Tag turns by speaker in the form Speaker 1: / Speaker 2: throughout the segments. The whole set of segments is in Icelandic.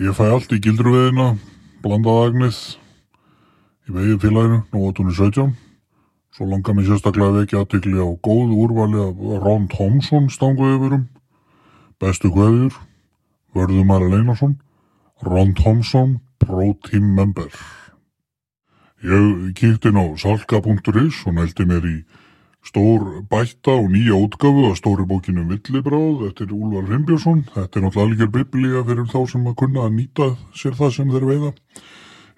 Speaker 1: Ég fæ allt í gildruveðina, blandað Agnes, í vegið félaginu, nú á tónu 17. Svo langar mér sérstaklega að vekja aðtikli á góð úrvali af Ron Thompson stanguðurum, bestu kveður, Vörðumar Einarsson, Ron Thompson, Pro Team Member. Ég kíkti inn á salka.is og nælti mér í stór bætta og nýja útgafu að stóri bókinu um Villibráð eftir Úlvar Rimbjörnsson. Þetta er náttúrulega algjör biblía fyrir þá sem að kunna að nýta sér það sem þeir veiða.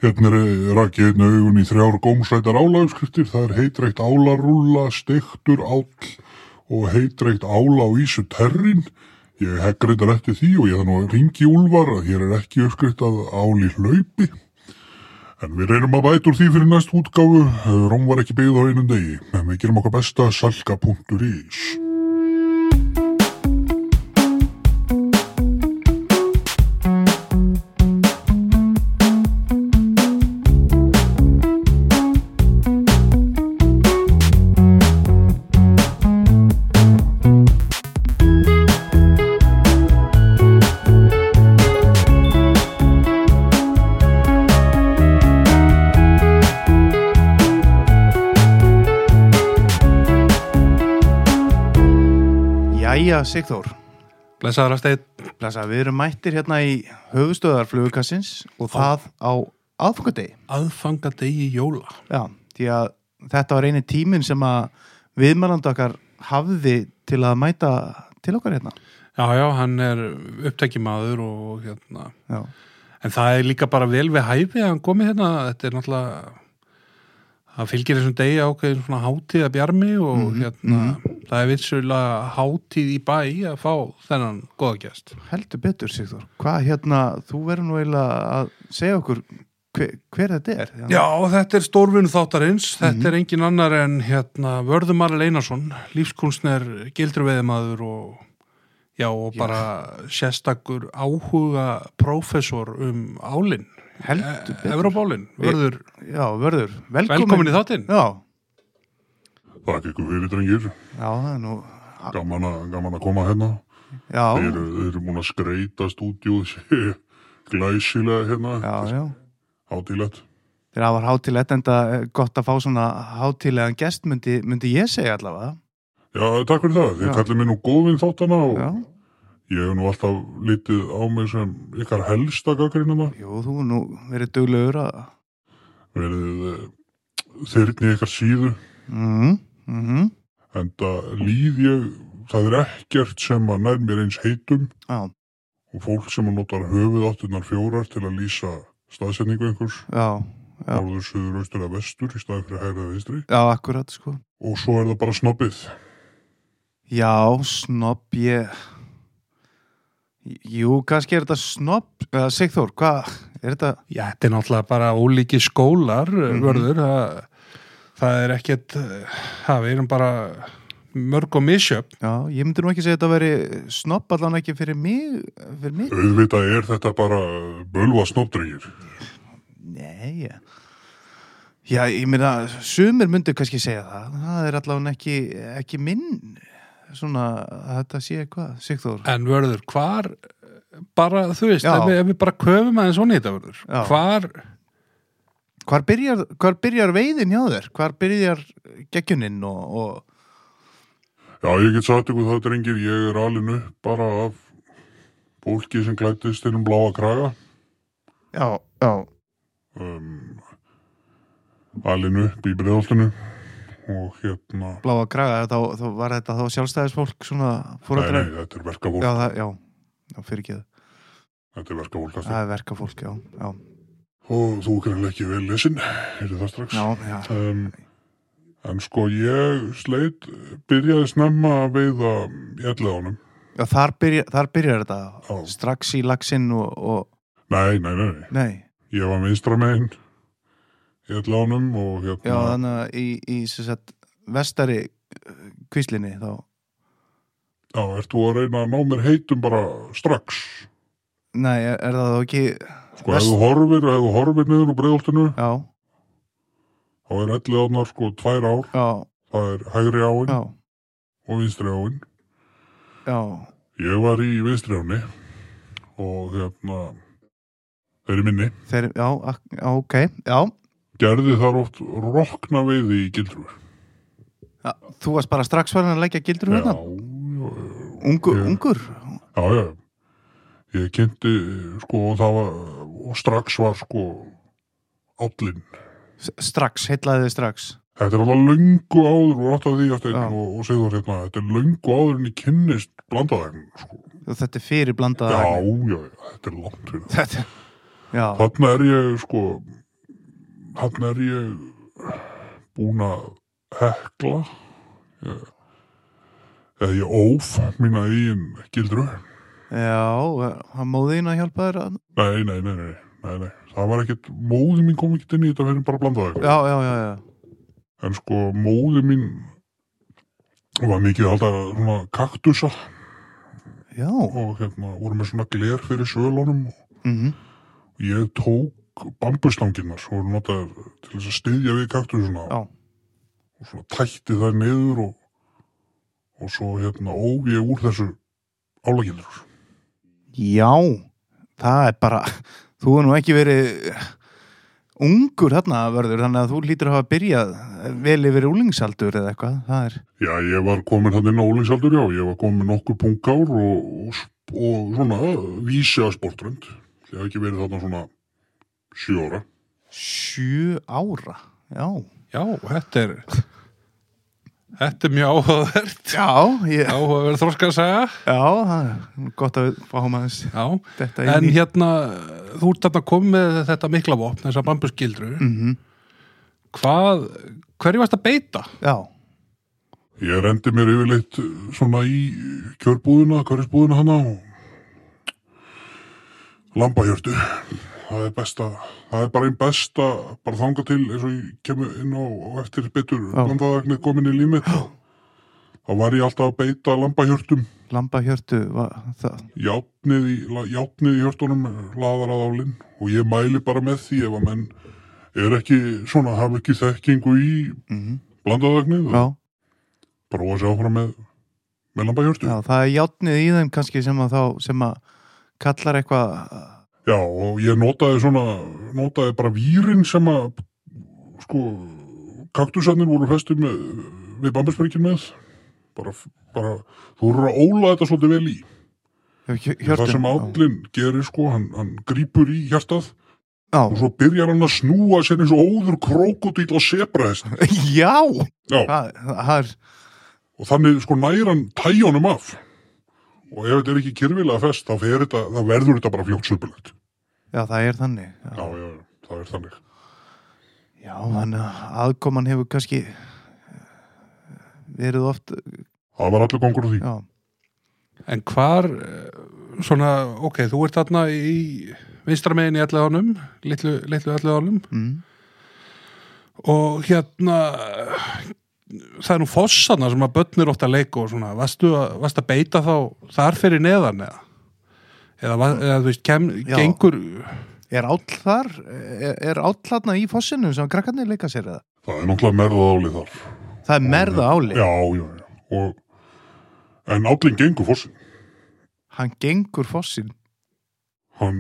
Speaker 1: Hérna er rakið einu augun í þrjár gómsrætar álagskriftir. Það er heitreikt álarúla, stektur áll og heitreikt ála á ísu terrin. Ég heggur þetta eftir því og ég þannig að ringi Úlvar að hér er ekki uppskrift að áli hlaupi. En við reynum að bæta úr því fyrir næst útgáfu. Róm var ekki byggð á einum degi, en við gerum okkar besta salka.is.
Speaker 2: Jæja, Sigþór,
Speaker 3: Blessaður að steið,
Speaker 2: blessa, við erum mættir hérna í höfustöðarflugukassins og það á aðfangadegi.
Speaker 3: aðfangadegi jóla.
Speaker 2: Já, því að þetta var eini tíminn sem að viðmælandi okkar hafði til að mæta til okkar hérna.
Speaker 3: Já, já, hann er upptækjumadur og hérna.
Speaker 2: Já,
Speaker 3: En það er líka bara vel við hæfi að hann komi hérna. Þetta er náttúrulega, það fylgir þessum degi ákveðin svona hátíð að bjarmi og hérna, það er vissulega hátíð í bæ að fá þennan góða gest.
Speaker 2: heldur betur, Sigþór. Hvað hérna, þú verður nú eiginlega að segja okkur hver, hver þetta er. hérna.
Speaker 3: Já, þetta er stórvinu þáttarins. Þetta er engin annar en hérna, Vörðumar Einarsson, lífskunstner, gildruveðimaður og já, og bara sérstakur áhuga prófessor um álinn. eh,
Speaker 2: Heldur betur.
Speaker 3: Evrópálinn, Vörður,
Speaker 2: Já, verður. Velkomin.
Speaker 3: velkomin í þáttinn.
Speaker 2: Já,
Speaker 1: Takk ykkur fyrir, drengir.
Speaker 2: já, það er nú,
Speaker 1: Gaman, a, gaman að koma hérna.
Speaker 2: já,
Speaker 1: Þeir eru, þeir eru múin að skreita stúdjóð sé glæsilega hérna.
Speaker 2: já, já.
Speaker 1: Hátílegt.
Speaker 2: Þegar það var hátilegt enda eh, gott að fá svona hátilegan gest myndi, myndi ég segja allavega.
Speaker 1: Já, takk fyrir það. Þið
Speaker 2: Já.
Speaker 1: kallið mér nú góðvinn þáttana og
Speaker 2: Já,
Speaker 1: ég hef nú alltaf litið á mig sem ykkar helsta gaggrinana.
Speaker 2: jú, þú hefur nú verið duglegur að...
Speaker 1: Verið eh, þyrnið ykkar síðu.
Speaker 2: Mhm, mhm,
Speaker 1: En það líð ég, það er ekkert sem að nær mér eins heitum
Speaker 2: já,
Speaker 1: og fólk sem að notar höfuð áttunar fjórar til að lýsa staðsetningu einhvers,
Speaker 2: já, Já.
Speaker 1: norður, söður, austur eða vestur í staði fyrir hægri eða vinstri
Speaker 2: já, akkurat, sko.
Speaker 1: og svo er það bara snobbið.
Speaker 2: Já, snobb, ég... Jú, kannski er þetta snobb... Uh, Sigþór, hvað er þetta?
Speaker 3: Já, þetta er náttúrulega bara ólíki skólar, mm
Speaker 2: Mhm.
Speaker 3: Vörður. Það, það er ekkert, eh, það við erum bara mörg og misjöfn.
Speaker 2: Já, ég myndi nú ekki segja þetta veri snobb allan ekki fyrir mig, fyrir mig.
Speaker 1: Auðvitað er þetta bara bölva snobbdrengir.
Speaker 2: Nei, ég... Já, ég meina, sumir myndu kannski segja það. Það er allavega ekki, ekki minn, svona, að þetta sé eitthvað, Sigþór.
Speaker 3: En Vörður, hvar, eh, bara, þú veist,
Speaker 2: Já.
Speaker 3: ef við, ef við bara köfum aðeins svona í þetta, Vörður.
Speaker 2: Já.
Speaker 3: Hvar,
Speaker 2: Hvar byrjar, hvar byrjar veiðin hjá þér? Hvar byrjar geggjuninn og, og...
Speaker 1: Já, ég get sagt ykkur það drengir, ég er alin upp bara af fólki sem klættist inn um bláa kraga.
Speaker 2: Já, já.
Speaker 1: Um, alin upp í breiðoltinu og hérna...
Speaker 2: Bláa kraga, þá, þá var þetta þá sjálfstæðisfólk svona
Speaker 1: Nei,
Speaker 2: fóröldra?
Speaker 1: nei, þetta er verkafólk,
Speaker 2: Já, það, já, já, fyrir ekki það.
Speaker 1: þetta er verkafólk aftur.
Speaker 2: Það er verkafólk, já, já.
Speaker 1: Og þú greinlega ekki vel lesin, er það strax.
Speaker 2: Já, já,
Speaker 1: Um, en sko ég sleit, byrjaði snemma að veiða í ellið ánum.
Speaker 2: já þar, byrja, þar byrjar þetta.
Speaker 1: Já.
Speaker 2: Strax í laxinn og, og...
Speaker 1: Nei, nei, nei, nei.
Speaker 2: Nei,
Speaker 1: Ég var vinstra megin í ellið ánum og
Speaker 2: já,
Speaker 1: hérna,
Speaker 2: þannig að í, í sem sagt, vestari eh, kvíslinni þá.
Speaker 1: já, ert þú að reyna að ná mér heitum bara strax.
Speaker 2: Nei, er, er það þá ekki...
Speaker 1: Sko, ef þú horfir, ef þú horfir niður úr breiðoltinu,
Speaker 2: Já,
Speaker 1: þá er ellið ánar sko tvær ár,
Speaker 2: já,
Speaker 1: það er hægri áin
Speaker 2: já,
Speaker 1: og vinstri áin.
Speaker 2: já,
Speaker 1: Ég var í vinstri áni og hérna, þeir eru minni,
Speaker 2: Þeir, já, ak- já, ok, já.
Speaker 1: gerði þar oft rokna veiði í gildrur.
Speaker 2: Já, Þú varst bara strax farin að leggja gildur hérna?
Speaker 1: já, já,
Speaker 2: Ungur,
Speaker 1: Ég-
Speaker 2: ungur?
Speaker 1: já, já. Ég kynnti, sko, og það var, og strax var, sko, állinn.
Speaker 2: S- Strax, heitlaði þið strax.
Speaker 1: Þetta er alltaf löngu áður og átt að því að
Speaker 2: Já.
Speaker 1: steinu og, og segður hérna, þetta er löngu áður en ég kynnist blandaðagn, sko.
Speaker 2: Og Þetta er fyrir
Speaker 1: Já,
Speaker 2: blandaða.
Speaker 1: já, já, þetta er langt fyrir það.
Speaker 2: Þetta, já,
Speaker 1: Þarna er ég, sko, þarna er ég búin að hekla, ég, eða ég óf mína eigin gildru.
Speaker 2: já, hann móðin að hjálpa þér að...
Speaker 1: Nei, nei, nei, nei, nei, nei. Það var ekkert, móði mín kom ekkert inn í þetta fyrir bara blandaðagn.
Speaker 2: Já, já, já, já.
Speaker 1: En sko, móði mín var mikið að halda svona kaktusa.
Speaker 2: Já,
Speaker 1: og hérna, voru með svona gler fyrir svölunum og
Speaker 2: mhm,
Speaker 1: ég tók bambuslanginnar og voru notaðar til þess að styðja við kaktusuna
Speaker 2: já.
Speaker 1: og svona tætti þær niður og, og svo hérna óg ég úr þessu álagindur.
Speaker 2: Já, það er bara, þú er nú ekki verið ungur þarna vörður, þannig að þú lítur að hafa byrjað vel yfir úlingsaldur eða eitthvað, það er,
Speaker 1: Já, ég var komin hann inn á ólingsaldur, já, ég var komin með nokkur punkár og, og, sp- og svona vísi að sportrönd. Ég hef ekki verið þarna svona sjö ára.
Speaker 2: sjö ára, já.
Speaker 3: Já, þetta er þetta er mjög áhugavert
Speaker 2: Já, ég, já,
Speaker 3: áhugaverð þróska að segja
Speaker 2: það er gott að við fáum aðeins
Speaker 3: Já,
Speaker 2: þetta
Speaker 3: en
Speaker 2: inn í.
Speaker 3: hérna þú ert þarna komið með þetta mikla vopn þessa bambusgildru,
Speaker 2: Mhm,
Speaker 3: hvað hverju varst að beita?
Speaker 2: Já,
Speaker 1: Ég rendi mér yfirleitt uh, svona í kjörbúðuna, hverjusbúðuna hana og lambahjörtu. Það er besta, það er bara einn besta, bara þanga til eins og ég kemur inn á á eftir betur
Speaker 2: Já.
Speaker 1: landaðagnir komin í límið. Þá var ég alltaf að beita lambahjörtum,
Speaker 2: lambahjörtu, var, það,
Speaker 1: játnið í, la- játnið í hjörtunum, laðar að álinn og ég mæli bara með því ef að menn er ekki svona, hafa ekki þekkingu í
Speaker 2: mhm,
Speaker 1: blandaðagnir
Speaker 2: já,
Speaker 1: og prófa sér áfram með, með lambahjörtu.
Speaker 2: já, það er játnið í þeim kannski sem að þá, sem að kallar eitthvað,
Speaker 1: Já, og ég notaði svona, notaði bara vírin sem að, sko, kaktusarnir voru festið með, við bambusbyrgin með. Bara, bara, þú voru að óla þetta svolítið vel í.
Speaker 2: hjörtu.
Speaker 1: það sem állin gerir, sko, hann, hann grípur í hjartað
Speaker 2: Já,
Speaker 1: og svo byrjar hann að snúa sér eins og óður krókudýl á sebrahest.
Speaker 2: já,
Speaker 1: Já,
Speaker 2: það, það er,
Speaker 1: og þannig, sko, nær hann tæjónum af. Og ef þetta er ekki kyrfilega fest, þá fer þetta, þá verður þetta bara fljótt söpulegt.
Speaker 2: Já, það er þannig.
Speaker 1: Já,
Speaker 2: Já,
Speaker 1: já, já, það er þannig.
Speaker 2: já þannig að aðkoman hefur kannski eh, verið oft,
Speaker 1: Það var allir gangur á því.
Speaker 2: já,
Speaker 3: En hvar eh, svona, ok, þú ert þarna í vinstra megin í alliðanum litlu, litlu alliðanum
Speaker 2: mm,
Speaker 3: og hérna það er nú fossana sem að börnir ótt að leika og svona, varstu að, varstu að beita þá þar fyrir neðan eða eða, var- eða þú veist, kem,
Speaker 2: Já.
Speaker 3: gengur
Speaker 2: er áll þar, er, er áll þarna í fossinum sem krakkarnir leika sér eða?
Speaker 1: Það er náttúrulega merða álið þar.
Speaker 2: Það er merða áli,
Speaker 1: Já, já, já. Og, en álinn gengur fórsin.
Speaker 2: hann gengur fossin.
Speaker 1: Hann,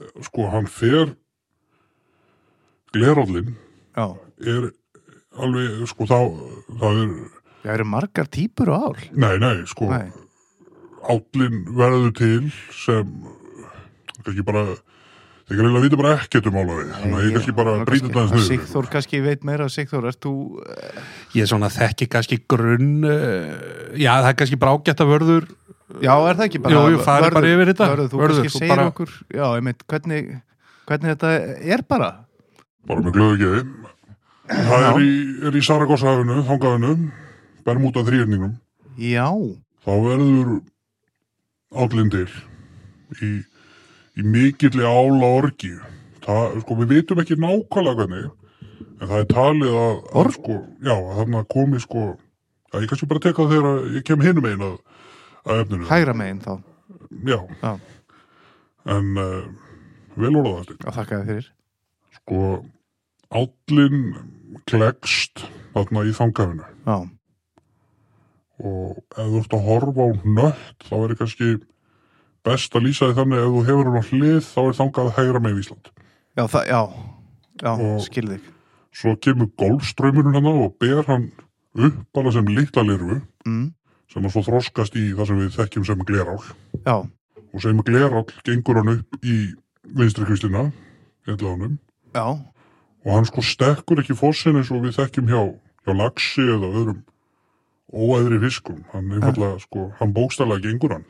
Speaker 1: eh, sko, hann fer, glerállinn
Speaker 2: Já,
Speaker 1: er alveg, sko, þá, það er,
Speaker 2: það eru margar típur á ál.
Speaker 1: nei, nei, sko,
Speaker 2: Nei,
Speaker 1: álinn verður til sem, kannski bara, ég kannski að vita bara ekkert um álaði. Þannig að ég kannski bara brýta það eins niður.
Speaker 2: Sigþór kannski veit meira, Sigþór, ert þú, eh,
Speaker 3: ég svona þekki kannski grunn eh, já, það er kannski brágætt að vörður
Speaker 2: já, er það ekki bara?
Speaker 3: Jú, jú, farið bara yfir þetta.
Speaker 2: Vörður, þú
Speaker 3: Vörður,
Speaker 2: kannski
Speaker 3: þú
Speaker 2: segir
Speaker 3: bara-
Speaker 2: okkur, já, ég meint, hvernig, hvernig þetta er bara?
Speaker 1: Bara með glöðu geði. Það er í, er í Saragossahafinu, þangaðinu, Bermuda þrýrningnum.
Speaker 2: Já,
Speaker 1: þá verður állinn til í, í mikilli ála orgi það, sko, við vitum ekki nákvæmlega hvernig en það er talið að, að sko, já, að þarna komi sko, að ég kannski bara teka það þegar ég kem hinum einn að, að efninu
Speaker 2: hægra megin þá,
Speaker 1: já,
Speaker 2: Já.
Speaker 1: en uh, vel orðaðast
Speaker 2: já, þakka þér fyrir.
Speaker 1: sko, állinn klekst þarna í þangafinu
Speaker 2: Já,
Speaker 1: og ef þú ert að horfa á nött þá er kannski best að lýsa því þannig ef þú hefur hann á hlið þá er þangað hægra með Ísland
Speaker 2: Já, það, já, já,
Speaker 1: Og-
Speaker 2: skilði þig.
Speaker 1: svo kemur golfströymurinn hann og ber hann upp bara sem litla lirfu
Speaker 2: Mm,
Speaker 1: sem hann svo þroskast í það sem við þekkjum sem glerál
Speaker 2: já,
Speaker 1: og sem glerál gengur hann upp í vinstri kristina honum,
Speaker 2: já,
Speaker 1: og hann sko stekkur ekki fossin eins og við þekkjum hjá, hjá laxi eða öðrum óæðri fiskum hann, einfaldlega, sko, hann bókstælega gengur hann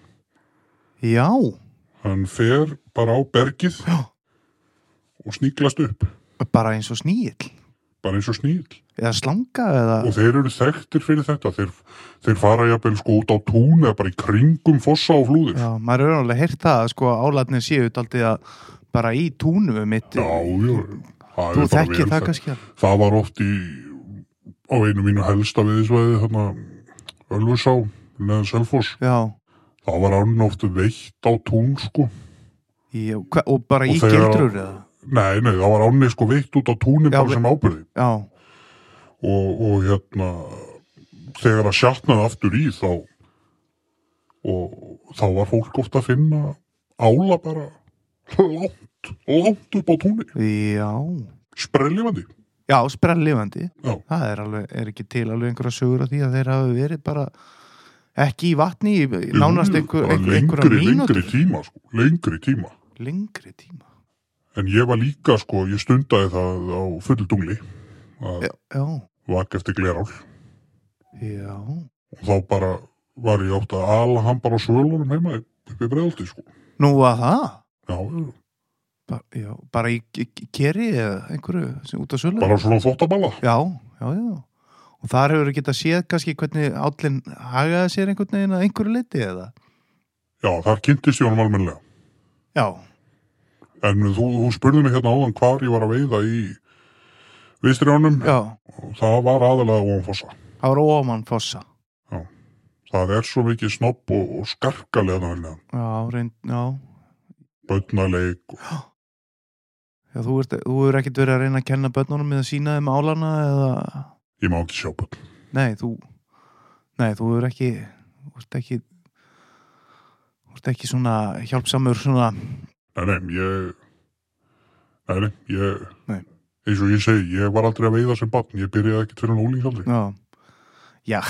Speaker 2: já,
Speaker 1: hann fer bara á bergið
Speaker 2: já,
Speaker 1: og sníklast upp
Speaker 2: bara eins og sníill.
Speaker 1: bara eins og sníl
Speaker 2: Eða slanga eða,
Speaker 1: og þeir eru þekktir fyrir þetta þeir, þeir fara jafnvel sko út á tún eða bara í kringum fossa og flúðir
Speaker 2: já, maður er alveg heyrt það að sko álatnir séu daldið að bara í túnum mitt.
Speaker 1: já, já, það
Speaker 2: Þú
Speaker 1: er bara
Speaker 2: þekkir
Speaker 1: vel
Speaker 2: það
Speaker 1: þekkt.
Speaker 2: kannski að,
Speaker 1: það var oft í á einu mínu helsta viðisvæði þarna Ölfusá neðan Selfoss,
Speaker 2: já,
Speaker 1: það var án oft veitt á tún sko
Speaker 2: já, hva, og bara
Speaker 1: Og
Speaker 2: í
Speaker 1: þegar-
Speaker 2: gildrur eða,
Speaker 1: nei, nei, það var ánni sko veitt út á túnin
Speaker 2: Já,
Speaker 1: bara
Speaker 2: við-
Speaker 1: sem ábyrði
Speaker 2: já,
Speaker 1: og, og hérna þegar það sjatnaði aftur í þá og þá var fólk ofta að finna ála bara langt, langt upp á túnni
Speaker 2: já,
Speaker 1: sprellifandi
Speaker 2: já, sprellifandi.
Speaker 1: Já.
Speaker 2: Það er alveg, er ekki til alveg einhverja sögur af því að þeir hafi verið bara ekki í vatni, í- í nánast einhver,
Speaker 1: Bara
Speaker 2: einhver, einhverja
Speaker 1: lengri,
Speaker 2: mínútur.
Speaker 1: lengri tíma sko, lengri tíma
Speaker 2: Lengri tíma.
Speaker 1: en ég var líka sko, ég stundaði það á fulldungli að
Speaker 2: Já, já,
Speaker 1: vak eftir glerál og
Speaker 2: já,
Speaker 1: þá bara var ég átt að ala hann bara á svölunum heima upp í bregaldi sko
Speaker 2: nú að það,
Speaker 1: já, já,
Speaker 2: bara, já, bara í keri eða einhverju sem út á sölu.
Speaker 1: bara svona þvottaballa
Speaker 2: Já, já, já. Og þar hefur getað séð kannski hvernig állin hagaði sér einhvern veginn að einhverju liti eða?
Speaker 1: já, þar kynntist ég honum almennilega
Speaker 2: Já,
Speaker 1: En þú, þú spurði mig hérna áðan hvar ég var að veiða í vinstri ánum
Speaker 2: já,
Speaker 1: og það var aðalega óanfossa.
Speaker 2: það var ómann fossa.
Speaker 1: Það er svo mikið snopp og, hérna. og skarkalega þannig að
Speaker 2: Já, reynd, já.
Speaker 1: bötnaleik og
Speaker 2: Já, þú, ert, þú hefur ekkert verið að reyna að kenna börnunum með að sína þeim álana eða...
Speaker 1: ég má ekki sjá bötn.
Speaker 2: Nei, þú Nei, þú er ekki Þú ert ekki Þú ert ekki svona hjálpsamur svona
Speaker 1: Nei, nei, ég, nei, nei, ég,
Speaker 2: Nei.
Speaker 1: eins og ég segi, ég var aldrei að veiða sem barn, ég byrjaði ekki fyrir en úlingsaldri.
Speaker 2: Já, já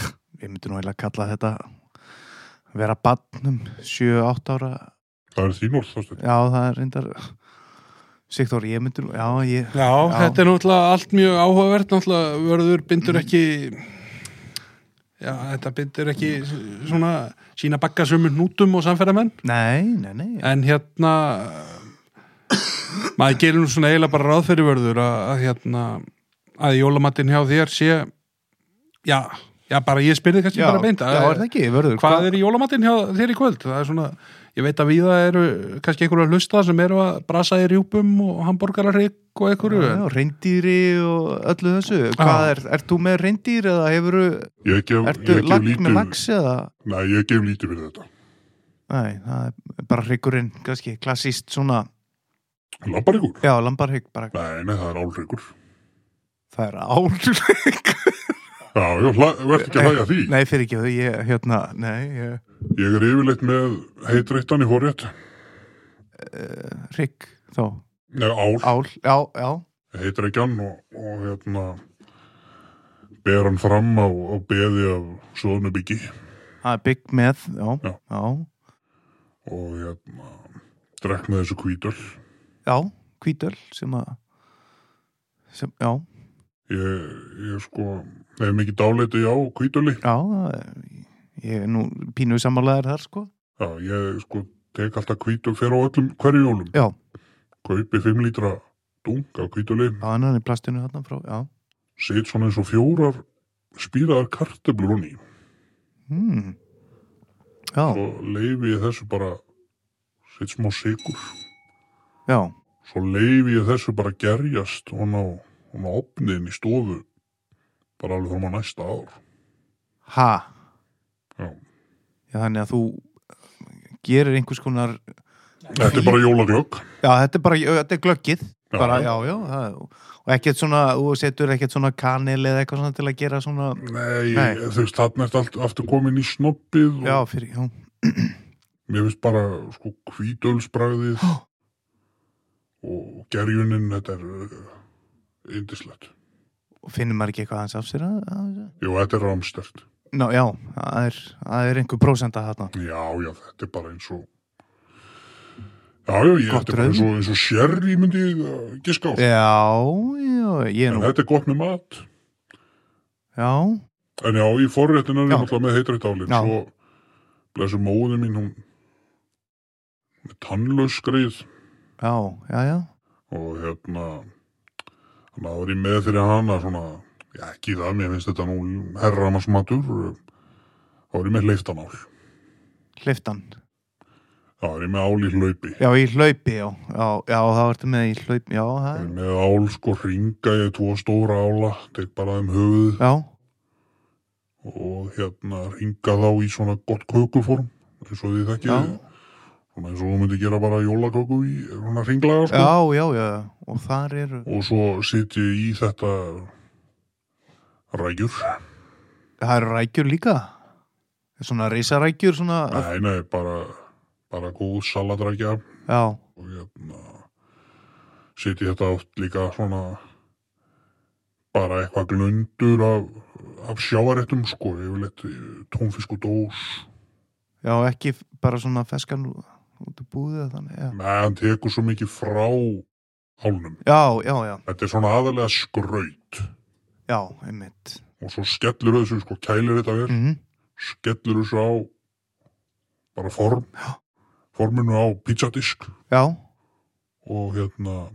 Speaker 2: Við myndum nú heila að kalla þetta vera bannum 7-8 ára
Speaker 1: Það er þín orð, það
Speaker 2: Já, það er reyndar Sigþór, ég myndi nú Já, ég
Speaker 3: Já, þetta er náttúrulega allt mjög áhugavert náttúrulega vörður bindur ekki já, þetta bindur ekki svona sína bakka sömur nútum og samferðamenn
Speaker 2: Nei, nei, nei
Speaker 3: en hérna maður gerir nú svona eiginlega bara ráð fyrir vörður að, að hérna að jólamattin hjá þér sé já, já bara ég spyrði kannski bara beint
Speaker 2: já, er það ekki, verður
Speaker 3: hvað er í jólamattin hjá þér í kvöld það er svona, ég veit að viða eru kannski einhverju að hlusta sem eru að brasa í rjúpum og hambúrgararrygg og einhverju
Speaker 2: Já,
Speaker 3: en-
Speaker 2: já, reyndýri og öllu þessu Hvað
Speaker 3: Já.
Speaker 2: er, ert þú með reyndýr eða hefuru,
Speaker 1: Ég gef,
Speaker 2: ertu
Speaker 1: ég gef
Speaker 2: lag með
Speaker 1: lítið,
Speaker 2: lags eða
Speaker 1: nei, ég gef lítið fyrir þetta.
Speaker 2: Nei, það er bara hryggurinn, kannski, klassíst svona,
Speaker 1: Lampar ykkur?
Speaker 2: já, lambarhygg, bara,
Speaker 1: Nei, nei, það er álreikur.
Speaker 2: það er álrygg.
Speaker 1: Já, já, hla- verð ekki að hlæja að því.
Speaker 2: Nei, fyrir ekki, ég, hérna, nei, ég,
Speaker 1: Ég er yfirleitt með heitreittan í forrétt.
Speaker 2: hrygg, þá,
Speaker 1: Nei, ál,
Speaker 2: ál, já, já,
Speaker 1: heitir ekki hann og, og hérna ber hann fram á, á beði af Sóðnubyggi
Speaker 2: það er bygg með, já,
Speaker 1: Já.
Speaker 2: já, já,
Speaker 1: og hérna drekk með þessu kvítöl
Speaker 2: hvítöl sem að, sem, já,
Speaker 1: ég, ég sko hef mikið dálæti á kvítöli
Speaker 2: já, það er- ég er nú pínuð samanlegaður þar, sko,
Speaker 1: já, ég sko tek alltaf kvítöl fyrir á öllum hverju jólum
Speaker 2: já,
Speaker 1: kaupi 5 lítra dung af kvítöli
Speaker 2: já, en hann er í plastinu þarna frá, já,
Speaker 1: set svona eins og fjórar spýraðar kartöblur hún í
Speaker 2: hmm, já,
Speaker 1: og leifi ég þessu bara set smá sigur
Speaker 2: já,
Speaker 1: svo leifi ég þessu bara að gerjast hún á, hún á opniðin í stofu bara alveg fram á næsta ár
Speaker 2: ha,
Speaker 1: Já.
Speaker 2: já, þannig að þú gerir einhvers konar
Speaker 1: þetta er bara jólaglögg
Speaker 2: Já, þetta er bara, þetta er glöggið
Speaker 1: Já,
Speaker 2: bara,
Speaker 1: já.
Speaker 2: já, já, það, og ekkert svona þú setur ekkert svona kanil eða eitthvað svona til að gera svona,
Speaker 1: nei,
Speaker 2: Nei.
Speaker 1: þú veist, þarna er allt aftur komin í snoppið
Speaker 2: já,
Speaker 1: og
Speaker 2: fyrir, já,
Speaker 1: mér finnst bara sko hvítölsbragðið og gerjunin þetta er uh, indislegt.
Speaker 2: Og finnum maður ekki eitthvað hans af sér að... að-
Speaker 1: Jú, þetta er rámstert.
Speaker 2: Ná, já, það er, það er einhver prósenda þarna.
Speaker 1: Já, já, þetta er bara eins og Já, já, ég,
Speaker 2: Gott
Speaker 1: þetta er bara eins
Speaker 2: rauðvín.
Speaker 1: og, eins og sherry myndi ég uh, giska á.
Speaker 2: Já, já, ég er
Speaker 1: En
Speaker 2: nú...
Speaker 1: þetta er gott með mat.
Speaker 2: Já,
Speaker 1: En já, í forréttinu er ég
Speaker 2: Já.
Speaker 1: náttúrulega með heitrætt álinn.
Speaker 2: Já.
Speaker 1: Svo blessu móðin mín, hún með tannlaus greið
Speaker 2: já, já, já.
Speaker 1: og hérna hann að var ég með fyrir hana svona, já ekki það, mér finnst þetta nú herramasmatur þá var ég með leiftanál þá
Speaker 2: Hliftan.
Speaker 1: var ég með ál í hlaupi
Speaker 2: Já, í hlaupi, já. Já, já, þá ertu með í hlaupi, já, það
Speaker 1: Ég
Speaker 2: er...
Speaker 1: er með ál sko ringa ég tvo stóra ála tek bara þeim höfuð
Speaker 2: Já,
Speaker 1: og hérna ringa þá í svona gott kökuform eins og því þekkið
Speaker 2: já,
Speaker 1: svona eins og þú myndi gera bara jólaköku í svona ringlaga sko
Speaker 2: já, já, já. Og þar eru...
Speaker 1: og svo setji ég í þetta rækjur
Speaker 2: Það eru rækjur líka. Svona risarækjur, svona...
Speaker 1: nei, nei, bara bara góð salatrækja
Speaker 2: Já,
Speaker 1: og hérna setji þetta átt líka svona bara eitthvað glöndur af, af sjáarettum sko, yfirleitt eh, tónfisk og dós
Speaker 2: já, ekki f- bara svona feskan ú- út úr búðið eða þannig, já.
Speaker 1: Nei, hann tekur svo mikið frá álnum.
Speaker 2: Já, já, já,
Speaker 1: Þetta er svona aðalega skraut
Speaker 2: já, einmitt.
Speaker 1: og svo skellur þessu, sko, kælir þetta vel,
Speaker 2: Mm
Speaker 1: skellur þessu á bara form, forminu á pizzadisk
Speaker 2: Já,
Speaker 1: og hérna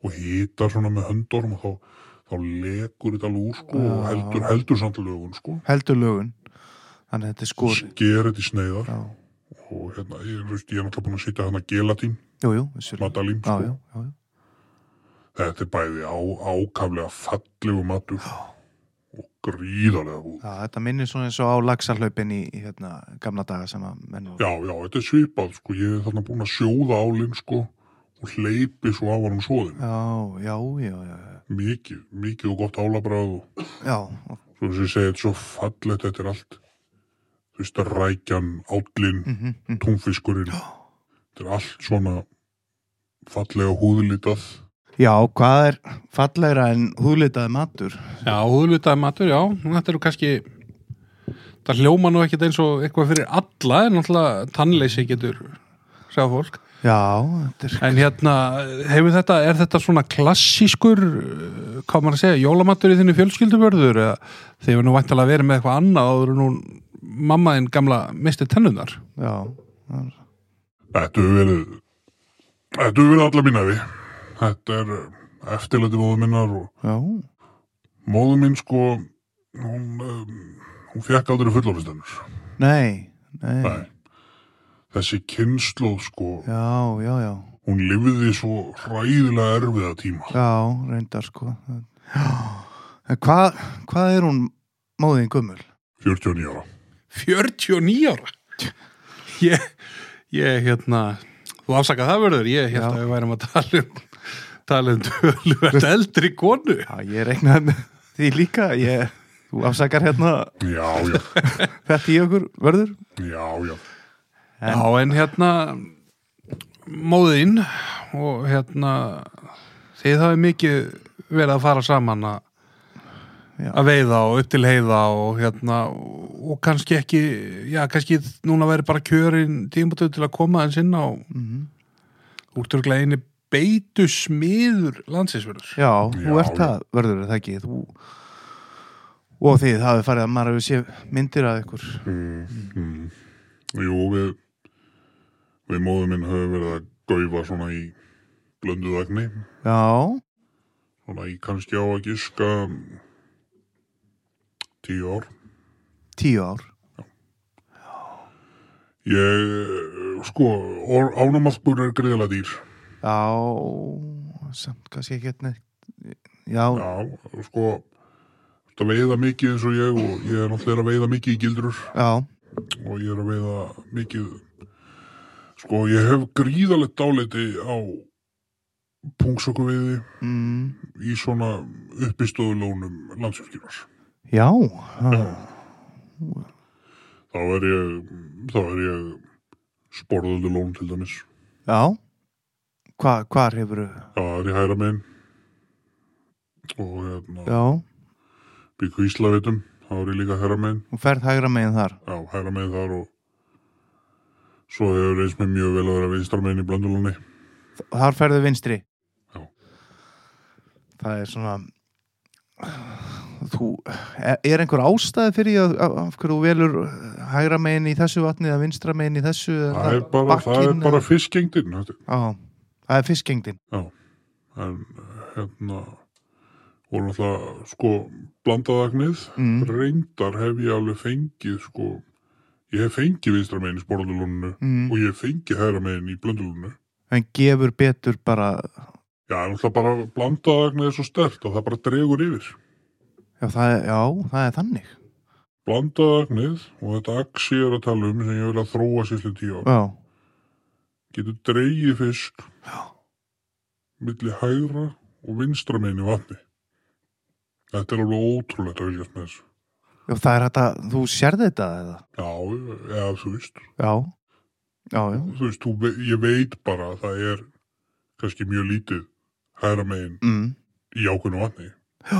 Speaker 1: og hýtar svona með höndorm og þá, þá lekur þetta alveg úr sko og
Speaker 2: Já.
Speaker 1: heldur, heldur samt lögun sko
Speaker 2: heldur lögun. Þannig að þetta er skori.
Speaker 1: sker þetta í sneiðar
Speaker 2: Já,
Speaker 1: og hérna, ég, þú veist, ég er náttúrulega búin að setja hana gelatín,
Speaker 2: jú, jú, vissulega.
Speaker 1: matalín
Speaker 2: Já,
Speaker 1: sko.
Speaker 2: já, já, já.
Speaker 1: Þetta er bæði á, ákaflega fallegu matur og gríðarlega húð.
Speaker 2: Já, þetta minnir svona eins og á laxarhlaupin í í, hérna gamla daga sem að menn...
Speaker 1: Já, já, þetta er svipað, sko. Ég er þarna búin að sjóða álinn, sko, og hleypi svo af hann svoðin.
Speaker 2: Já, já, já, já, já.
Speaker 1: Mikið, mikið og gott álabráð og
Speaker 2: Já, og-
Speaker 1: svo sem ég segi, þetta er svo fallegt, þetta er allt. Þú veist, rækjan, állinn,
Speaker 2: mhm, mhm.
Speaker 1: túnfiskurinn. Þetta er allt svona fallega húðlitað.
Speaker 2: já, hvað er fallegra en húðlitaði matur?
Speaker 3: Já, húðlutaði matur, já, þetta eru kannski það hljóma nú ekkit eins og eitthvað fyrir alla, en náttúrulega tannleysi getur sjá fólk
Speaker 2: Já, þetta er...
Speaker 3: En hérna, hefur þetta, er þetta svona klassískur, uh, hvað maður að segja, jólamatur í þinni fjölskyldubörður eða þið hefur nú væntalega verið með eitthvað annað áður en hún mamma þinn gamla misti tennunar?
Speaker 2: Já, það er-
Speaker 1: Þetta hefur verið, þetta hefur verið alla mín hefi. Þetta er eftirleiti móðu minnar og
Speaker 2: já,
Speaker 1: Móðu mín sko, hún, um, hún fekk aldrei fullorðistennur.
Speaker 2: nei, nei,
Speaker 1: Nei. Þessi kynnslóð sko,
Speaker 2: já, já, já,
Speaker 1: hún lifði svo hræðilega erfiða tíma.
Speaker 2: já, reyndar sko. Já, en hvað, hvað er hún móðin gummul?
Speaker 1: 49 ára.
Speaker 3: 49 ára? Ég, ég, hérna, þú afsakað það verður, ég
Speaker 2: Já.
Speaker 3: hérna við værum að tala um, tala um tölvöld eldri konu.
Speaker 2: Já, ég reiknaði með því líka, ég, þú afsakar hérna
Speaker 1: Já, já,
Speaker 2: þetta í okkur vörður.
Speaker 1: já, já.
Speaker 2: En-
Speaker 3: Já, en hérna, móðinn og hérna, þið hafið mikið verið að fara saman að
Speaker 2: Já.
Speaker 3: að veiða og upp til heiða og hérna og kannski ekki, já kannski núna væri bara kjörin tímatöð til að koma aðeins inn á
Speaker 2: Mhm.
Speaker 3: úrtörglega einu beitu smiður landsins
Speaker 2: Já, þú
Speaker 1: Já,
Speaker 2: ert
Speaker 1: já.
Speaker 2: það, vörður, er það ekki, þú og þið hafið farið að maður hefur séð myndir af ykkur.
Speaker 1: Mm. Mm. Jú, við, við móðu mín höfum verið að gaufa svona í blönduð agni.
Speaker 2: Já,
Speaker 1: Svona í kannski á að giska mm, 10 ár.
Speaker 2: tíu ár.
Speaker 1: Ég, eh, sko, or- ánamaðkur er greiðlega dýr.
Speaker 2: Já, samt kannski ekki hérna, já, já,
Speaker 1: Já, sko ertu að veiða mikið eins og ég og ég er náttúrulega að veiða mikið í gildrur
Speaker 2: já,
Speaker 1: og ég er að veiða mikið sko ég hef gríðalegt dáliti á pungsöku
Speaker 2: mm,
Speaker 1: í svona uppistöðulónum landsfjörkjumars
Speaker 2: já, já.
Speaker 1: þá er ég þá er ég sporðuðu lón til dæmis.
Speaker 2: Já. Hva, hvar hefur
Speaker 1: Það er í hæra megin og hérna,
Speaker 2: Já,
Speaker 1: byggu Íslavitum, það er ég líka hæra megin.
Speaker 2: og ferð hægra megin þar.
Speaker 1: Já, hæra megin þar og svo hefur reynst mér mjög vel að vera vinstra megin í blöndulóni.
Speaker 2: Þar ferðu vinstri.
Speaker 1: Já.
Speaker 2: Það er svona... Þú, e, er einhver ástæði fyrir því að, að- af hverju þú velur hægra megin í þessu vatni eða vinstra megin í þessu? eða
Speaker 1: Það er bara, það er
Speaker 2: bakkinn
Speaker 1: bara
Speaker 2: eða-
Speaker 1: fiskengdin, þetta
Speaker 2: Já, það er fiskengdin.
Speaker 1: en hérna og náttúrulega sko blandaðagnið
Speaker 2: Mm.
Speaker 1: reyndar hef ég alveg fengið sko, ég hef fengið vinstra megin í sporðuluninu
Speaker 2: Mm.
Speaker 1: og ég hef fengið hæra megin í blönduluninu
Speaker 2: En gefur betur bara...
Speaker 1: já, en náttúrulega bara blandaðagnið er svo stert og það bara dregur yfir
Speaker 2: Já, það er, já, það er þannig.
Speaker 1: blandaðagnið og þetta axi er að tala um sem ég vil að þróa síðslega tíu á
Speaker 2: Já,
Speaker 1: getur dreigið fisk milli hægra og vinstra megin í vatni þetta er alveg ótrúlegt að viljast með þessu
Speaker 2: já það er þetta... Þú sérði þetta eða?
Speaker 1: Já, eða þú veist,
Speaker 2: Já. Já, já.
Speaker 1: þú veist, þú, ve- ég veit bara að það er kannski mjög lítið hæra megin
Speaker 2: Mm.
Speaker 1: í ákveðnu vatni.
Speaker 2: Já.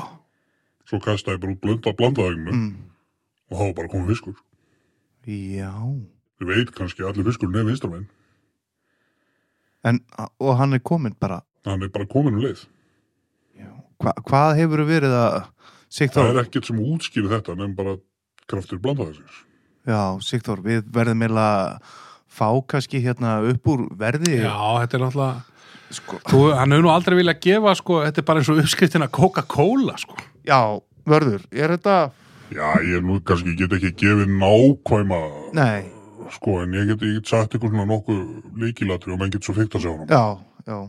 Speaker 1: Svo kastaði ég bara út blönda blandaðegnu
Speaker 2: Mm.
Speaker 1: og það var bara komið fiskur.
Speaker 2: Já.
Speaker 1: Ég veit kannski að allir fiskur nefn vinstra megin,
Speaker 2: En, og hann er komin bara
Speaker 1: hann er bara komin um leið.
Speaker 2: hva, hvað hefur verið að
Speaker 1: Það
Speaker 2: Sigþór,
Speaker 1: er ekkert sem útskýri þetta, nefn bara kraftur blandaðegsins.
Speaker 2: já, Sigþór við verðum eiginlega að fá kannski hérna upp úr verði
Speaker 3: Já, þetta er náttúrulega
Speaker 2: sko,
Speaker 3: þú, hann hefur nú aldrei viljað gefa sko, þetta er bara eins og uppskriftin að Coca-Cola sko.
Speaker 2: já vörður, er þetta
Speaker 1: Já, ég nú kannski get ekki gefið nákvæma,
Speaker 2: nei,
Speaker 1: sko, en ég get, ég get sagt ykkur svona nokkuð líkilatri og menn get svo fyrta sig á hann.
Speaker 2: já, já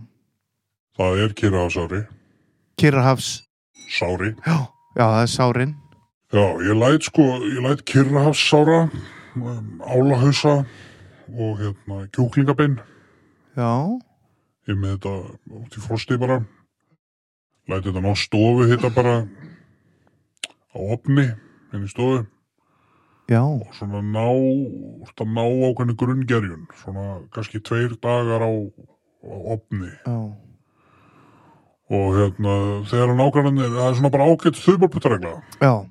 Speaker 1: Það er kyrraðsári,
Speaker 2: Kirrahafs,
Speaker 1: sári,
Speaker 2: já, já það er sárin
Speaker 1: Já, ég læt sko, ég læt kyrrahafsára, um, álahausa og hérna kjúklingabein.
Speaker 2: já,
Speaker 1: Ég er með þetta út í frosti bara. Læt þetta ná stofu þetta bara á opni, inn í stofu.
Speaker 2: já,
Speaker 1: Og svona ná, þetta ná ákveðni grunngerjun. Svona kannski tveir dagar á, á opni.
Speaker 2: já
Speaker 1: Og hérna, þegar nákvæmlega, það er svona bara ágætt þumalputregla.
Speaker 2: já,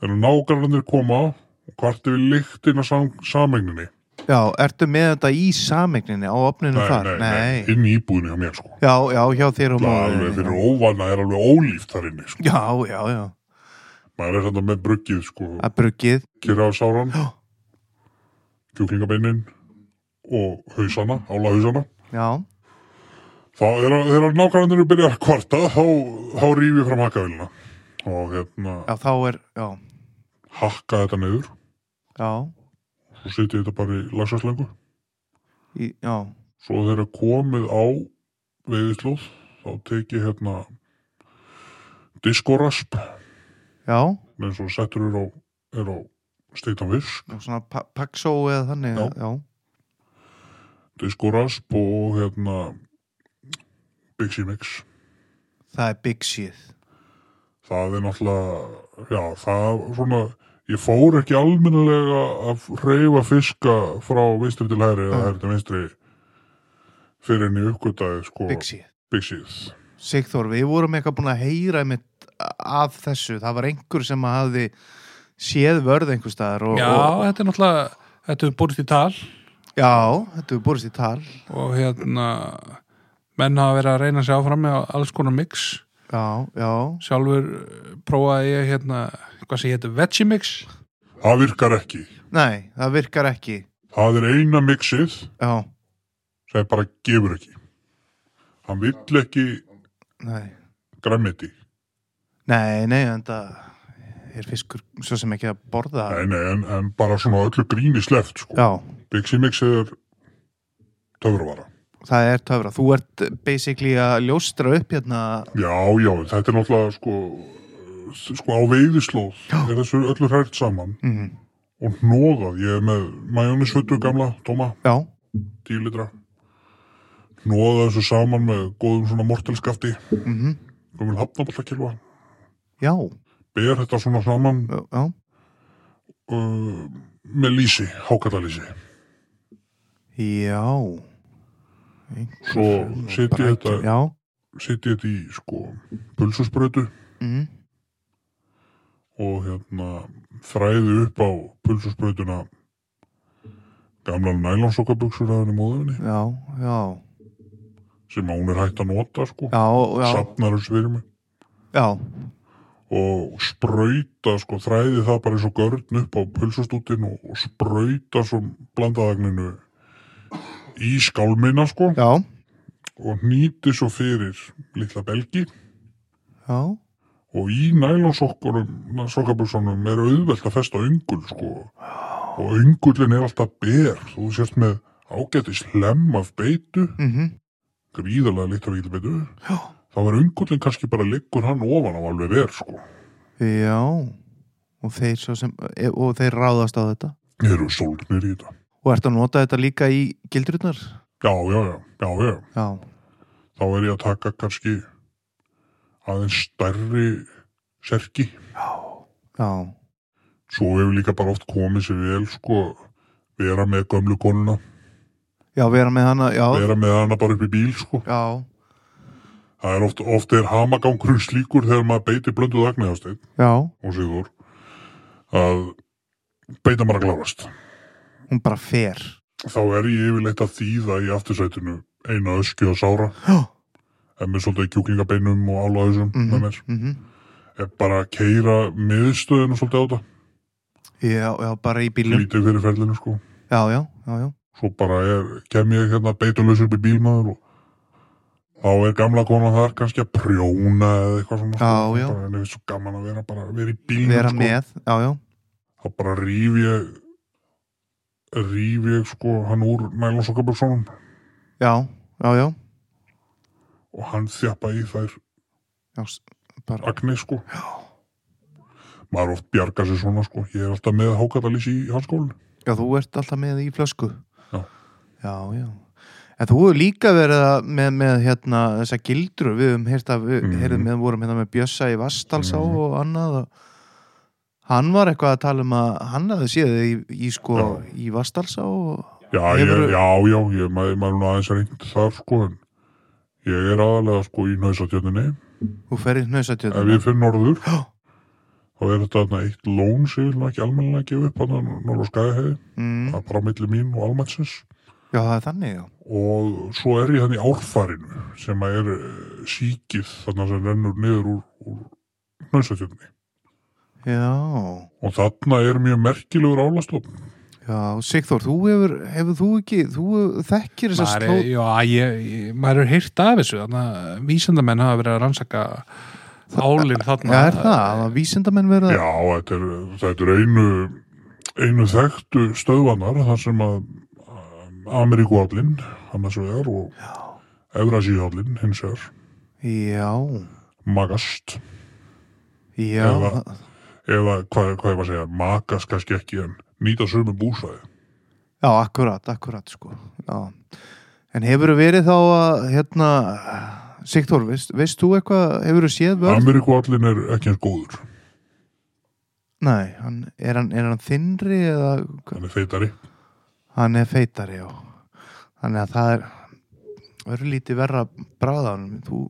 Speaker 1: Þegar nákvæmlega koma og hvart yfir lyktina sam, samegninni.
Speaker 2: já, ertu með þetta í sameigninni á opninu þar?
Speaker 1: inn í íbúðinu hjá mér sko.
Speaker 2: já, já, hjá þér og
Speaker 1: Það er
Speaker 2: móður
Speaker 1: alveg fyrir óvana er alveg ólíft þar inni sko.
Speaker 2: já, já, já,
Speaker 1: Maður er þetta með bruggið sko,
Speaker 2: að bruggið
Speaker 1: kyrrafsáran,
Speaker 2: já,
Speaker 1: kjúklingabeinin og hausana, ála hausana.
Speaker 2: já,
Speaker 1: Það er að, þegar nákvæmlega byrja að kvarta þá, þá rýfi fram hakkavilina og hérna
Speaker 2: já, þá er já,
Speaker 1: hakka þetta niður
Speaker 2: já,
Speaker 1: og setja þetta bara í lagsaslengu.
Speaker 2: í, já
Speaker 1: Svo þegar komið á veiðislóð þá teki hérna diskorasp
Speaker 2: Já,
Speaker 1: eins og settur er á, er á steiktan visk
Speaker 2: já, svona pa paksó eða þannig
Speaker 1: Já.
Speaker 2: já,
Speaker 1: diskorasp og hérna Bixi Mix
Speaker 2: Það er big shit
Speaker 1: það er náttúrulega já, það svona ég fór ekki almennilega að reyfa fiska frá vinstri til hæri eða
Speaker 2: Mm.
Speaker 1: hæri til vinstri fyrir henni uppgötaði sko
Speaker 2: Big shit
Speaker 1: Bixið
Speaker 2: Sigþór, við vorum eitthvað búin að heyra einmitt af þessu, það var einhver sem að hafði séð vörð einhver staðar og,
Speaker 3: Já,
Speaker 2: og,
Speaker 3: þetta er náttúrulega þetta hefur borist í tal
Speaker 2: já þetta við borist í tal
Speaker 3: og hérna menn hafa verið að reyna sig áfram með alls konar mix
Speaker 2: Já, já,
Speaker 3: sjálfur eh, prófaði ég hérna hvað sem hétu veggie mix
Speaker 1: það virkar ekki
Speaker 2: nei, það virkar ekki
Speaker 1: það er eina mixið
Speaker 2: Já,
Speaker 1: sem bara gefur ekki hann vill ekki
Speaker 2: nei
Speaker 1: græmiti
Speaker 2: Nei, nei, en það er fiskur svo sem ekki að borða
Speaker 1: nei, nei, en, en bara svona öllu gríni sleft sko.
Speaker 2: Já,
Speaker 1: Bixi Mixið er töfravara
Speaker 2: það er töfra Þú ert basically að ljóstra upp hérna
Speaker 1: Já, já, þetta er náttúrulega sko, sko á veiðislóð er þessu öllu hrært saman
Speaker 2: mm,
Speaker 1: og hnoðað, ég er með majónisvötu gamla, tóma,
Speaker 2: Já,
Speaker 1: 10 litra hnoðað þessu saman með góðum svona mortelskafti
Speaker 2: mm
Speaker 1: og vil hafna alltaf kilva
Speaker 2: já,
Speaker 1: ber þetta svona saman
Speaker 2: já, já
Speaker 1: uh, með lýsi, hákallalýsi
Speaker 2: Já. Einhver-
Speaker 1: Svo set ég
Speaker 2: Braki-
Speaker 1: þetta-
Speaker 2: Já.
Speaker 1: sitt ég þetta í sko pulsusbrötu
Speaker 2: Mm.
Speaker 1: og hérna þræði upp á pulsusbrötuna gamla nælonsokkabuxur að henni móðurinni
Speaker 2: Já, já.
Speaker 1: sem að hún er hægt að nota sko
Speaker 2: Já, já.
Speaker 1: safnar þessu fyrir mig
Speaker 2: Já.
Speaker 1: og sprauta sko þræði það bara eins og görn upp á pulsustútin og, og sprauta svo blandaðagninu í skálmina sko
Speaker 2: Já.
Speaker 1: og nýti svo fyrir litla belgi
Speaker 2: Já.
Speaker 1: og í nælonsokkunum sokkabuksunum er auðvelt að festa öngul sko og öngulin er alltaf ber þú sérst með ágæti slem af beitu
Speaker 2: Mhm.
Speaker 1: gríðarlega litt af íli beitu
Speaker 2: Já.
Speaker 1: þá er öngulin kannski bara liggur hann ofan á alveg ber sko
Speaker 2: Já. Og þeir svo sem, e- og þeir ráðast á þetta.
Speaker 1: eru sólgnir í þetta
Speaker 2: Og ert að nota þetta líka í gildrurnar?
Speaker 1: já, já, já, já, já
Speaker 2: Já.
Speaker 1: þá er ég að taka kannski aðeins stærri serki
Speaker 2: Já.
Speaker 1: svo hefur líka bara oft komið sér vel sko vera með gömlu konuna
Speaker 2: Já, vera með hana, já.
Speaker 1: vera með hana bara upp í bíl sko
Speaker 2: Já.
Speaker 1: Það er oft, oft er hamagangurinn slíkur þegar maður beitir blönduð agniðasteinn
Speaker 2: Já.
Speaker 1: og sigður að beita maður að klárast.
Speaker 2: Hún bara fer.
Speaker 1: Þá er ég yfirleitt að þýða í aftursætinu eina öskju og sára
Speaker 2: Já.
Speaker 1: en með svolítið kjúklingabeinum og álaðisum
Speaker 2: Mhm.
Speaker 1: með mér.
Speaker 2: Mhm.
Speaker 1: Er bara að keira miðstöðinu svolítið á þetta,
Speaker 2: Já, já, bara í bílum.
Speaker 1: lítið fyrir ferlinu sko.
Speaker 2: Já, já, já, já.
Speaker 1: Svo bara er, kem ég hérna beitulaus upp í bílmaður og þá er gamla konan þar kannski að prjóna eða eitthvað svona. sko.
Speaker 2: Já, já.
Speaker 1: Bara, en ég finnst svo gaman að vera bara, vera í bílnum
Speaker 2: Vera
Speaker 1: sko.
Speaker 2: með, já, já.
Speaker 1: þá bara rýf ég rýf ég sko hann úr nælonsokkabuxunum
Speaker 2: Já, já, já.
Speaker 1: og hann þjappa í þær
Speaker 2: Já, s- bara,
Speaker 1: agni sko Já. maður oft bjarga sér svona sko ég er alltaf með hákatalís í hanskólu
Speaker 2: já, þú ert alltaf með í flösku.
Speaker 1: Já.
Speaker 2: Já, já. En þú hefur líka verið að- með, með hérna, þessa gildru, við höfum heyrt að, við
Speaker 1: Mhm.
Speaker 2: heyrðum með, vorum hérna með Bjössa í Vastalsá
Speaker 1: Mhm.
Speaker 2: og annað og hann var eitthvað að tala um að hann hafði séð þig í, í sko, í Vastalsá og,
Speaker 1: já, ég,
Speaker 2: Hefurðu-
Speaker 1: já, já, ég, maður, maður er nú aðeins reynd þar sko en ég er aðalega sko í næsatjöndinni
Speaker 2: og ferði hnausatjöðna.
Speaker 1: ef ég finn norður
Speaker 2: Hérna Já.
Speaker 1: þá er þetta þarna eitt lón sem ég vil nú ekki almennilega gefa upp hann norður skæðahegi
Speaker 2: Mm,
Speaker 1: það er bara á milli mín og almennsins
Speaker 2: já, það er þannig, já.
Speaker 1: og svo er ég hann í árfarinu sem að er eh, síkið þannig sem rennur niður úr, úr nöðsatjöfni
Speaker 2: Já,
Speaker 1: og þarna er mjög merkilegur álastofn
Speaker 2: já, Sigþór, þú hefur, hefur þú ekki, þú þekkir þessa
Speaker 3: maður,
Speaker 2: slóð.
Speaker 3: er- já, ég, ég, maður er heyrt af þessu þannig að vísindamenn hafa verið að rannsaka álinn þarna
Speaker 2: Já, er það? Það var vísindamenn verið að...
Speaker 1: já, þetta er, þetta er einu einu þekktu stöðvanar þar sem að Ameríkuallinn annars vegar og Evrasíallinn hins vegar
Speaker 2: Já,
Speaker 1: magast
Speaker 2: já,
Speaker 1: Eða- eða hvað, hvað ég var að segja, magast kannski ekki en nýta sömu búsæði
Speaker 2: já, akkurat, akkurat, sko. Já. En hefur verið þá að, hérna, Sigþór, veist, veist þú eitthvað, hefur þú séð vörð?
Speaker 1: Ameríkuallinn er ekki eins góður
Speaker 2: Nei, hann, er, hann, er hann þinnri eða...
Speaker 1: hann er feitari
Speaker 2: Hann er feitari, já. Þannig að það er örlítið verra bráðan. Þú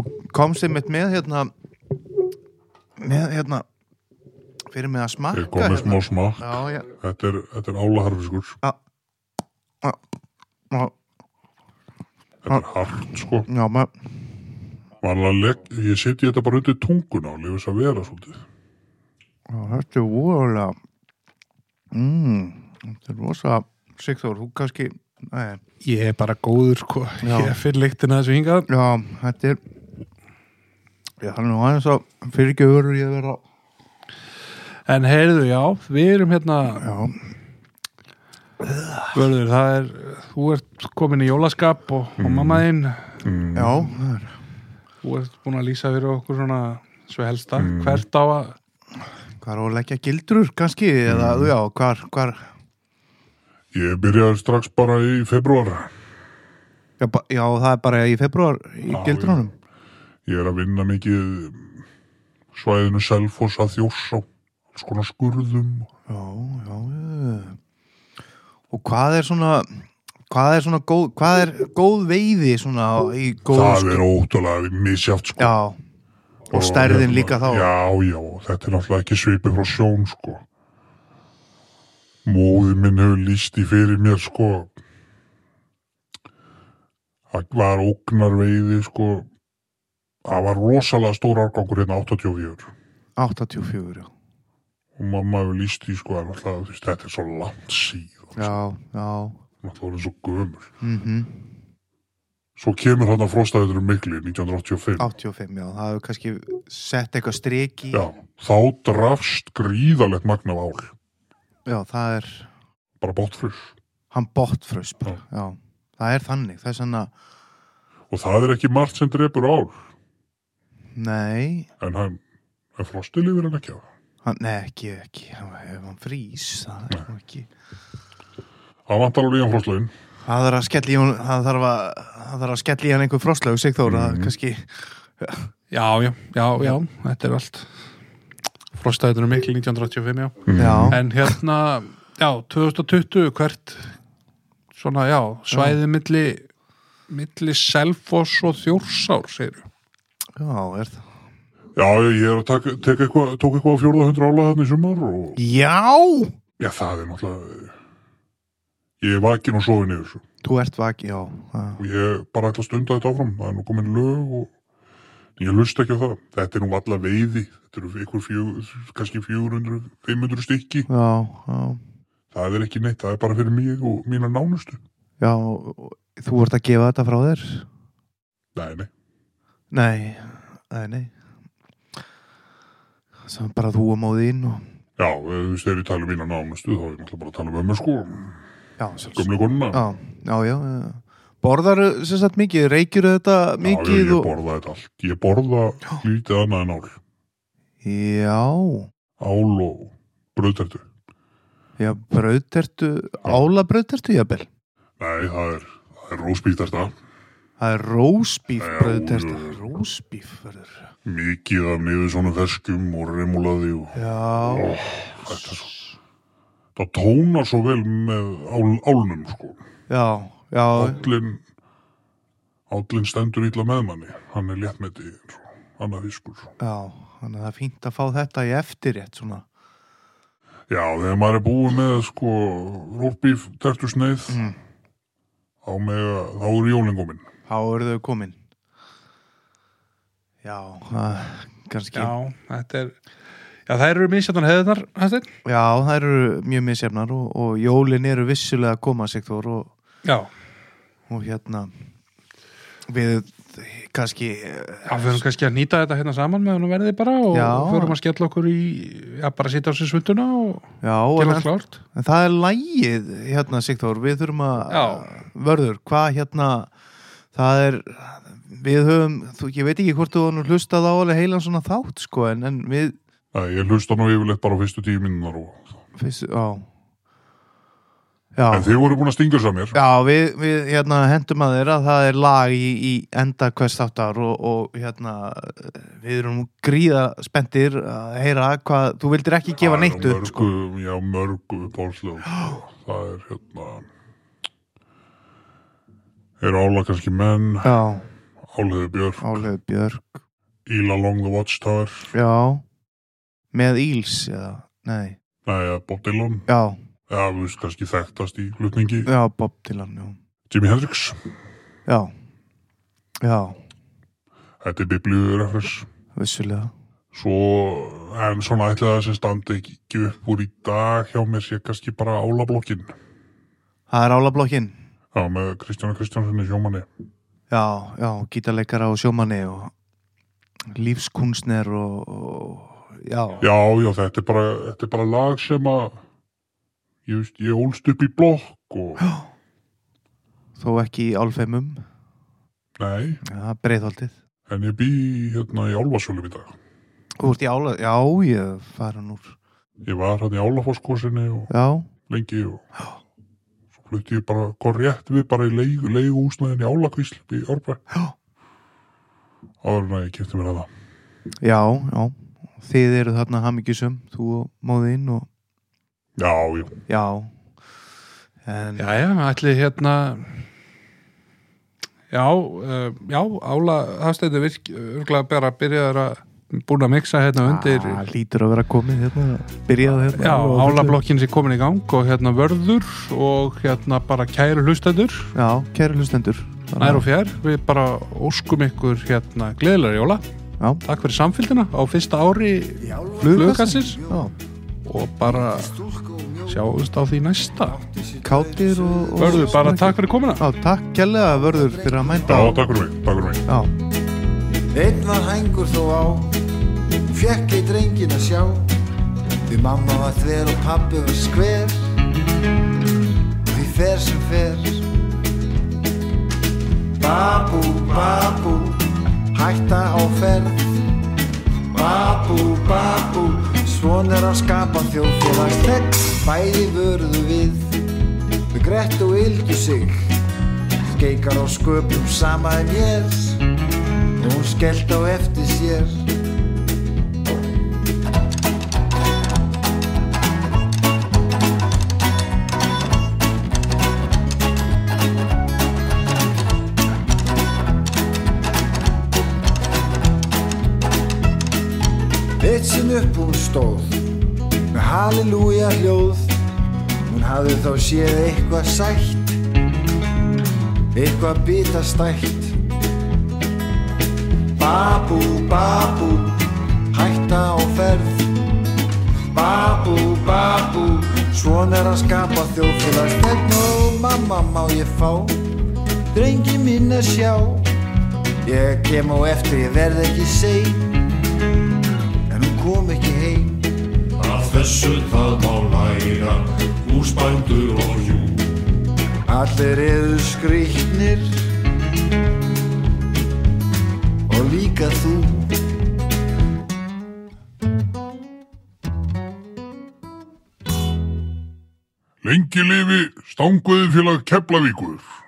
Speaker 2: og komst einmitt með hérna með hérna fyrir mig að
Speaker 1: ég
Speaker 2: smakka
Speaker 1: kom með smá
Speaker 2: hérna.
Speaker 1: smakk
Speaker 2: Já, já,
Speaker 1: Þetta er, þetta er álaharfiskur,
Speaker 2: já,
Speaker 1: þetta er hart sko.
Speaker 2: já, ma-
Speaker 1: Vanlega legg, ég setji þetta bara undir tungun á, lifis að vera svolítið.
Speaker 2: já, þetta er vorulega mm, þetta er rosa Sigþór, þú kannski nei,
Speaker 3: ég er bara góður sko.
Speaker 2: Já.
Speaker 3: ég finn lyktina þessu hingað
Speaker 2: já, þetta er já, það er nú aðeins að fyrirgjöfur ég að vera
Speaker 3: en heyrðu, já, við erum hérna
Speaker 2: já,
Speaker 3: vörður, það er, þú ert komin í jólaskap og, og mamma þinn
Speaker 1: Mm.
Speaker 2: já, það er
Speaker 3: þú ert búin að lýsa fyrir okkur svona svo helsta, hvert á að
Speaker 2: Hvar á að leggja gildrur kannski eða
Speaker 1: Mm.
Speaker 2: já, hvar, hvar
Speaker 1: Ég byrjaði strax bara í februar.
Speaker 2: já, ba- já, það er bara í februar í
Speaker 1: Já,
Speaker 2: gildrunum
Speaker 1: Ég er að vinna mikið mm, svæðinu Selfoss að Þjórsá, alls konar skurðum.
Speaker 2: já, já, já og hvað er svona hvað er svona góð, hvað er góð veiði svona á- í góð
Speaker 1: það er ótrúlega misjátt sko.
Speaker 2: já, og stærðin
Speaker 1: hérna,
Speaker 2: líka þá.
Speaker 1: já, já, þetta er náttúrulega ekki svipið frá sjón sko. móði minn hefur líst í fyrir mér sko. það var ógnarveiði sko. það var rosalega stór árgangur hérna 84
Speaker 2: 84 já,
Speaker 1: og mamma hefur líst í sko, en náttúrulega, þú veist, þetta er svo langt síðan sko,
Speaker 2: já, já
Speaker 1: náttúrulega svo gömur
Speaker 2: mm
Speaker 1: svo kemur hann að frostaður mikli 1985
Speaker 2: 85 já, það hefur kannski sett eitthvað streki
Speaker 1: Já, þá drafst gríðalegt magnaf ál,
Speaker 2: já, það er
Speaker 1: bara bóttfrus.
Speaker 2: hann botfrös bara, já. það er þannig, það er svona
Speaker 1: Og það er ekki margt sem drefur ál,
Speaker 2: nei,
Speaker 1: en hann, en frosti lifir hann ekki á.
Speaker 2: hann, nei ekki, ekki hann, ef hann frýs, það er nú ekki
Speaker 1: Það vantar alveg í hann frostlögin.
Speaker 2: það þarf að skella í hann það þarf að, það þarf að skella í hann einhver frostlög Sigþór, það
Speaker 1: Mhm.
Speaker 2: kannski
Speaker 3: já, já, já, já, þetta er allt frostaðinu mikil 1985, já
Speaker 2: já,
Speaker 3: En hérna, já, 2020 hvert svona, já, svæðið milli milli Selfoss og Þjórsár segir
Speaker 2: já, er það
Speaker 1: Já, ég er að taka, taka eitthvað, tók eitthvað á fjórða hundra ála þarna í sumar og
Speaker 2: já,
Speaker 1: já, það er náttúrulega, ég er vakin og sofin yfir þessu.
Speaker 2: þú ert vaki, já já.
Speaker 1: Og ég bara ætla að stunda þetta áfram, það er nú komin lög og ég lust ekki á það. Þetta er nú alla veiði, þetta eru einhver fjögur, kannski 400, 500 stykki.
Speaker 2: já, já,
Speaker 1: Það er ekki neitt, það er bara fyrir mig og mína nánustu.
Speaker 2: já og þú ert að gefa þetta frá þér
Speaker 1: Nei, nei.
Speaker 2: nei, nei, nei sem bara þú og móðin og...
Speaker 1: Já, eh, þú veist, þegar ég tala um mína nánustu, þá er ég náttúrulega bara að tala um ömmu sko,
Speaker 2: já, sjálfsagt.
Speaker 1: gömlu konuna.
Speaker 2: já, já, já, já. borðar sem sagt mikið, reykjur þetta
Speaker 1: Já,
Speaker 2: mikið
Speaker 1: ég, ég
Speaker 2: og...
Speaker 1: borða þetta allt. Ég borða lítið annað en ál.
Speaker 2: já,
Speaker 1: Ál og bröðtertu.
Speaker 2: já, brautertu ála brautertu, jafnvel
Speaker 1: Nei, það er, það er róspítarta.
Speaker 2: það er rósbíf
Speaker 1: Já,
Speaker 2: brautertu
Speaker 1: já, já.
Speaker 2: rósbíf verður
Speaker 1: Mikið af niður svona ferskum og remulaði og
Speaker 2: já,
Speaker 1: oh, þetta er svo. Það tónar svo vel með ál, álnum sko.
Speaker 2: já, já
Speaker 1: Állin, állin stendur ítla með manni. Hann er léttmeti eins og annað fiskur. sko.
Speaker 2: já, þannig að það er fínt að fá þetta í eftirrétt svona
Speaker 1: Já, þegar maður er búið með sko rúfbíf, tertusneið
Speaker 2: Mm.
Speaker 1: þá, með, þá er jólingóminn.
Speaker 2: Þá eru þau komin Já það- Kannski Já,
Speaker 3: Já, þetta er Já, það eru misjættan hefðunar, hættir
Speaker 2: það eru mjög misjafnar og, og jólin eru vissulega að koma sig þór og,
Speaker 3: Já,
Speaker 2: og hérna við kannski
Speaker 3: já, við höfum kannski að nýta þetta hérna saman með hann verði bara og
Speaker 2: Já.
Speaker 3: förum að skella okkur í já, bara að sitja á sér svunduna og
Speaker 2: Já,
Speaker 3: gera
Speaker 2: en,
Speaker 3: allt klárt
Speaker 2: en það er lægið hérna Sigþór, við þurfum að
Speaker 3: Já.
Speaker 2: vörður, hvað hérna það er við höfum, þú, ég veit ekki hvort þú hefur nú hlustað á alveg heilan svona þátt sko en, en við,
Speaker 1: Nei, ég hlusta nú yfirleitt bara á fyrstu tíu minnunar og...
Speaker 2: fyrst, á Já
Speaker 1: En þið voru búin að stinga sér mér.
Speaker 2: Já, við, við hérna, hendum að þeirra það er lag í, í enda hvers þáttar og, og hérna við erum gríða spendir að heyra hvað, þú vildir ekki gefa
Speaker 1: Það er
Speaker 2: neitt upp
Speaker 1: mörgu,
Speaker 2: sko.
Speaker 1: Já, mörgu pálsljóð. Það er hérna... Er ála kannski menn,
Speaker 2: Já,
Speaker 1: áliði björn,
Speaker 2: Álegu Björk
Speaker 1: Íl Along the Watchtower,
Speaker 2: Já, með Íls eða, nei,
Speaker 1: nei, ja, Bob Dylan,
Speaker 2: já,
Speaker 1: já, þú veist, kannski þekktast í flutningi,
Speaker 2: já, Bob Dylan Já,
Speaker 1: Jimi Hendrix,
Speaker 2: já, já
Speaker 1: þetta er biblíurefers.
Speaker 2: vissulega
Speaker 1: Svo, en svona ætlaði það sem standi ekki upp úr í dag hjá mér sé kannski bara álablokkin.
Speaker 2: Það er álablokkin
Speaker 1: Já, með Kristjánu Kristjánssoni sjómanni.
Speaker 2: Já, já, gítarleikara og sjómanni og lífskunstner og, og já,
Speaker 1: Já, já, þetta er bara, þetta er bara lag sem að, ég veist, ég ólst upp í blokk og,
Speaker 2: þó ekki í álfeimum
Speaker 1: nei,
Speaker 2: Já, breiðholdið.
Speaker 1: en ég bý hérna í Álfasölum í dag.
Speaker 2: Þú ert í ála... Já, ég farin úr...
Speaker 1: Ég var hann í Álafosskosinni og
Speaker 2: Já,
Speaker 1: lengi og svo flutti ég bara, hvað rétt við bara í leigu, leigu í Álakvísl í Árbæ.
Speaker 2: Já.
Speaker 1: Áður en að ég kipti mér að það.
Speaker 2: já, já. Þið eru þarna hamingjusum, þú og móðinn og...
Speaker 1: Já, já.
Speaker 2: Já. en
Speaker 3: Jæja, ætli hérna Já, uh, já, Ála Hafstæði virk, örglega bara byrjaður að búin að mixa hérna undir
Speaker 2: Ah, lítur að vera komið hérna, byrjað hérna
Speaker 3: Já,
Speaker 2: og-
Speaker 3: álablokkin sem komin í gang og hérna vörður og hérna bara kæru hlustendur
Speaker 2: Já, kæri hlustendur Bara-
Speaker 3: nær og fjær, við bara óskum ykkur hérna gleðilega jóla
Speaker 2: Já.
Speaker 3: Takk fyrir samfélgina á fyrsta ári flugkassins
Speaker 2: Já,
Speaker 3: og bara sjáumst á því næsta
Speaker 2: kátir og, og
Speaker 3: Vörður, bara takk fyrir komina
Speaker 2: Já, takk kærlega vörður fyrir að mænda
Speaker 1: Já,
Speaker 2: á-
Speaker 1: takk fyrir mig, takk fyrir mig.
Speaker 2: Já,
Speaker 4: Einn var hængur þó á Fjekk eitt rengin að sjá Því mamma var þver og pabbi var skver Því fer sem fer Babú, babú Hætta á ferð Babú, babú Svon er að skapa þjóðfélagstegn Bæði vörðu við Við grett og yldu sig Skeikar á sköpum sama en ég og hún skellt á eftir sér Eitt sinn upp hún stóð með halleluja hljóð hún hafði þá séð eitthvað sætt eitthvað bitastætt Babú, babú, hætta á ferð Babú, babú, svona er að skapa þjóðfélagsstefn og mamma má ég fá Drengi mín að sjá Ég kem á eftir, ég verð ekki sein En hún kom ekki heim
Speaker 5: Af þessu það má læra Húsbændur og hjú
Speaker 4: Allir eru skrýtnir Og líka þú
Speaker 1: Lengi lifi stanguði félag Keflavíkur.